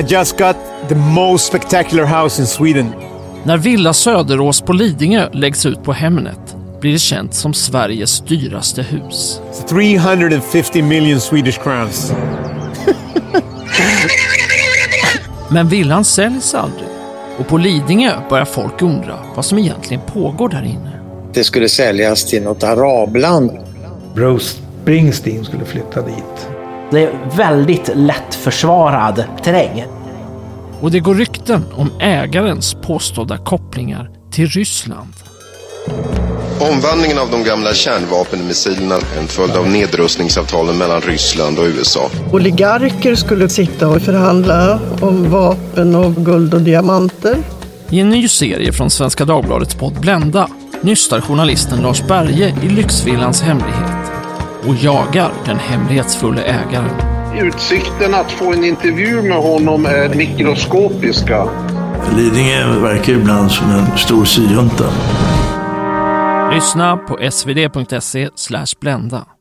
I just got the most spectacular house in Sweden. När Villa Söderås på Lidingö läggs ut på Hemnet blir det känt som Sveriges dyraste hus. It's 350 million Swedish crowns. Men villan säljs aldrig och på Lidingö börjar folk undra vad som egentligen pågår där inne. Det skulle säljas till något arabland. Bruce Springsteen skulle flytta dit. Det är väldigt lättförsvarad terräng. Och det går rykten om ägarens påstådda kopplingar till Ryssland. Omvandlingen av de gamla kärnvapenmissilerna är en följd av nedrustningsavtalen mellan Ryssland och USA. Oligarker skulle sitta och förhandla om vapen och guld och diamanter. I en ny serie från Svenska Dagbladets podd Blenda nystar journalisten Lars Berge i lyxvillans hemlighet och jagar den hemlighetsfulle ägaren. Utsikten att få en intervju med honom är mikroskopiska. Lidingö verkar ibland som en stor syjunta. Lyssna på svd.se blenda.